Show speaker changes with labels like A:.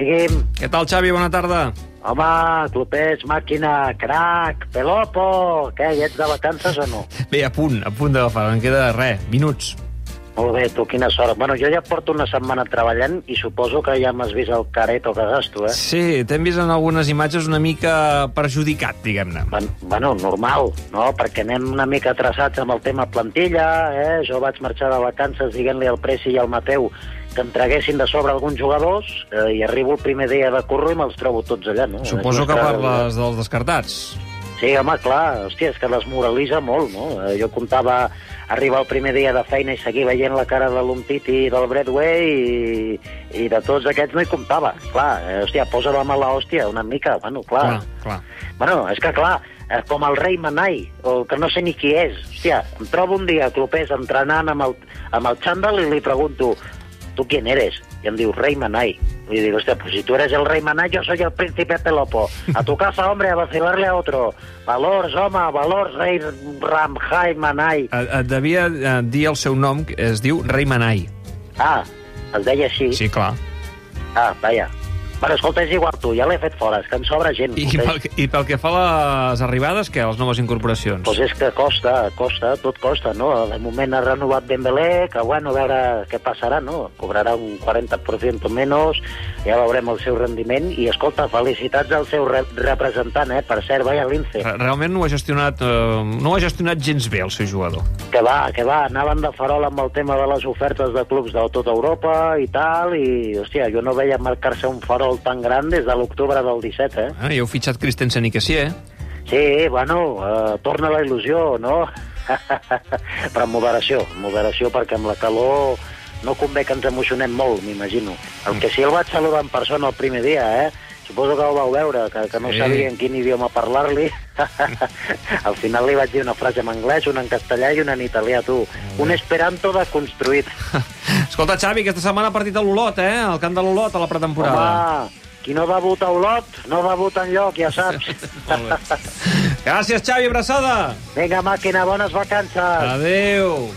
A: Què tal, Xavi? Bona tarda.
B: Home, tu ets màquina, crac, pelopo. Què, hi ets de vacances o no?
A: Bé, a punt, a punt d'agafar. En queda res, minuts.
B: Molt bé, tu, quina sort. Bueno, jo ja porto una setmana treballant i suposo que ja m'has vist el careto que gasto, eh?
A: Sí, t'hem vist en algunes imatges una mica perjudicat, diguem-ne.
B: Ben- Bueno, normal, no? Perquè anem una mica traçats amb el tema plantilla, eh? Jo vaig marxar de vacances dient-li al Preci i al Mateu que em traguessin de sobre alguns jugadors eh, i arribo el primer dia de curro i me'ls trobo tots allà, no?
A: Suposo que
B: Aquesta-
A: parles dels descartats.
B: Sí, home, clar, hòstia, és que les moralitza molt, no? Eh, Jo comptava arribar el primer dia de feina i seguir veient la cara de l'Umtiti i del Bradway i, i de tots aquests no hi comptava. Clar, eh, hòstia, posa la mala hòstia una mica, bueno, clar.
A: clar.
B: Bueno, és que clar, eh, com el rei Manai, o que no sé ni qui és. Hòstia, em trobo un dia a Clopés entrenant amb el, amb el xandall i li pregunto tu quién eres? I em diu, rei Manai. I dic, hòstia, pues si tu eres el rei Manai, jo soy el príncipe Pelopo. A tu casa, hombre, a vacilarle a otro. Valors, home, valors, rei Ramjai Manai.
A: Et, et devia eh, dir el seu nom, que es diu Rei Manai.
B: Ah, es deia així?
A: Sí, clar.
B: Ah, vaja. Bueno, escolta, és igual tu, ja l'he fet fora, és que em sobra gent.
A: I
B: Clopés.
A: pel, que- I pel que fa a les arribades, què? Les noves incorporacions?
B: Doncs és que costa, costa, tot costa, no? De moment ha renovat Dembélé, que bueno, a veure què passarà, no? Cobrarà un 40% menys, ja veurem el seu rendiment, i escolta, felicitats al seu re representant, eh? Per cert, vaya l'Ince,
A: Re- Realment no ho ha gestionat, eh, no ho ha gestionat gens bé el seu jugador.
B: que va, que va, anaven de farol amb el tema de les ofertes de clubs de tota Europa i tal, i, hòstia, jo no veia marcar-se un farol tan gran des de l'octubre del 17, eh?
A: Eh? I heu fitxat Christensen i eh? Kessier.
B: Sí, bueno, eh, torna la il·lusió, no? Però amb moderació, amb moderació, perquè amb la calor no convé que ens emocionem molt, m'imagino. El que sí el vaig saludar en persona el primer dia, eh? Suposo que ho vau veure, que, que no
A: Sí.
B: sí. sabia en quin idioma parlar-li. Al final li vaig dir una frase en anglès, una en castellà i una en italià, tu. Un esperanto de construït.
A: Escolta, Xavi, aquesta setmana ha partit a l'Olot, eh? Al camp de l'Olot, a la pretemporada.
B: Home, qui no va votar a Olot, no va votar enlloc, ja saps.
A: Molt bé. Gràcies, Xavi, abraçada.
B: Vinga, màquina, bones vacances.
A: Adéu.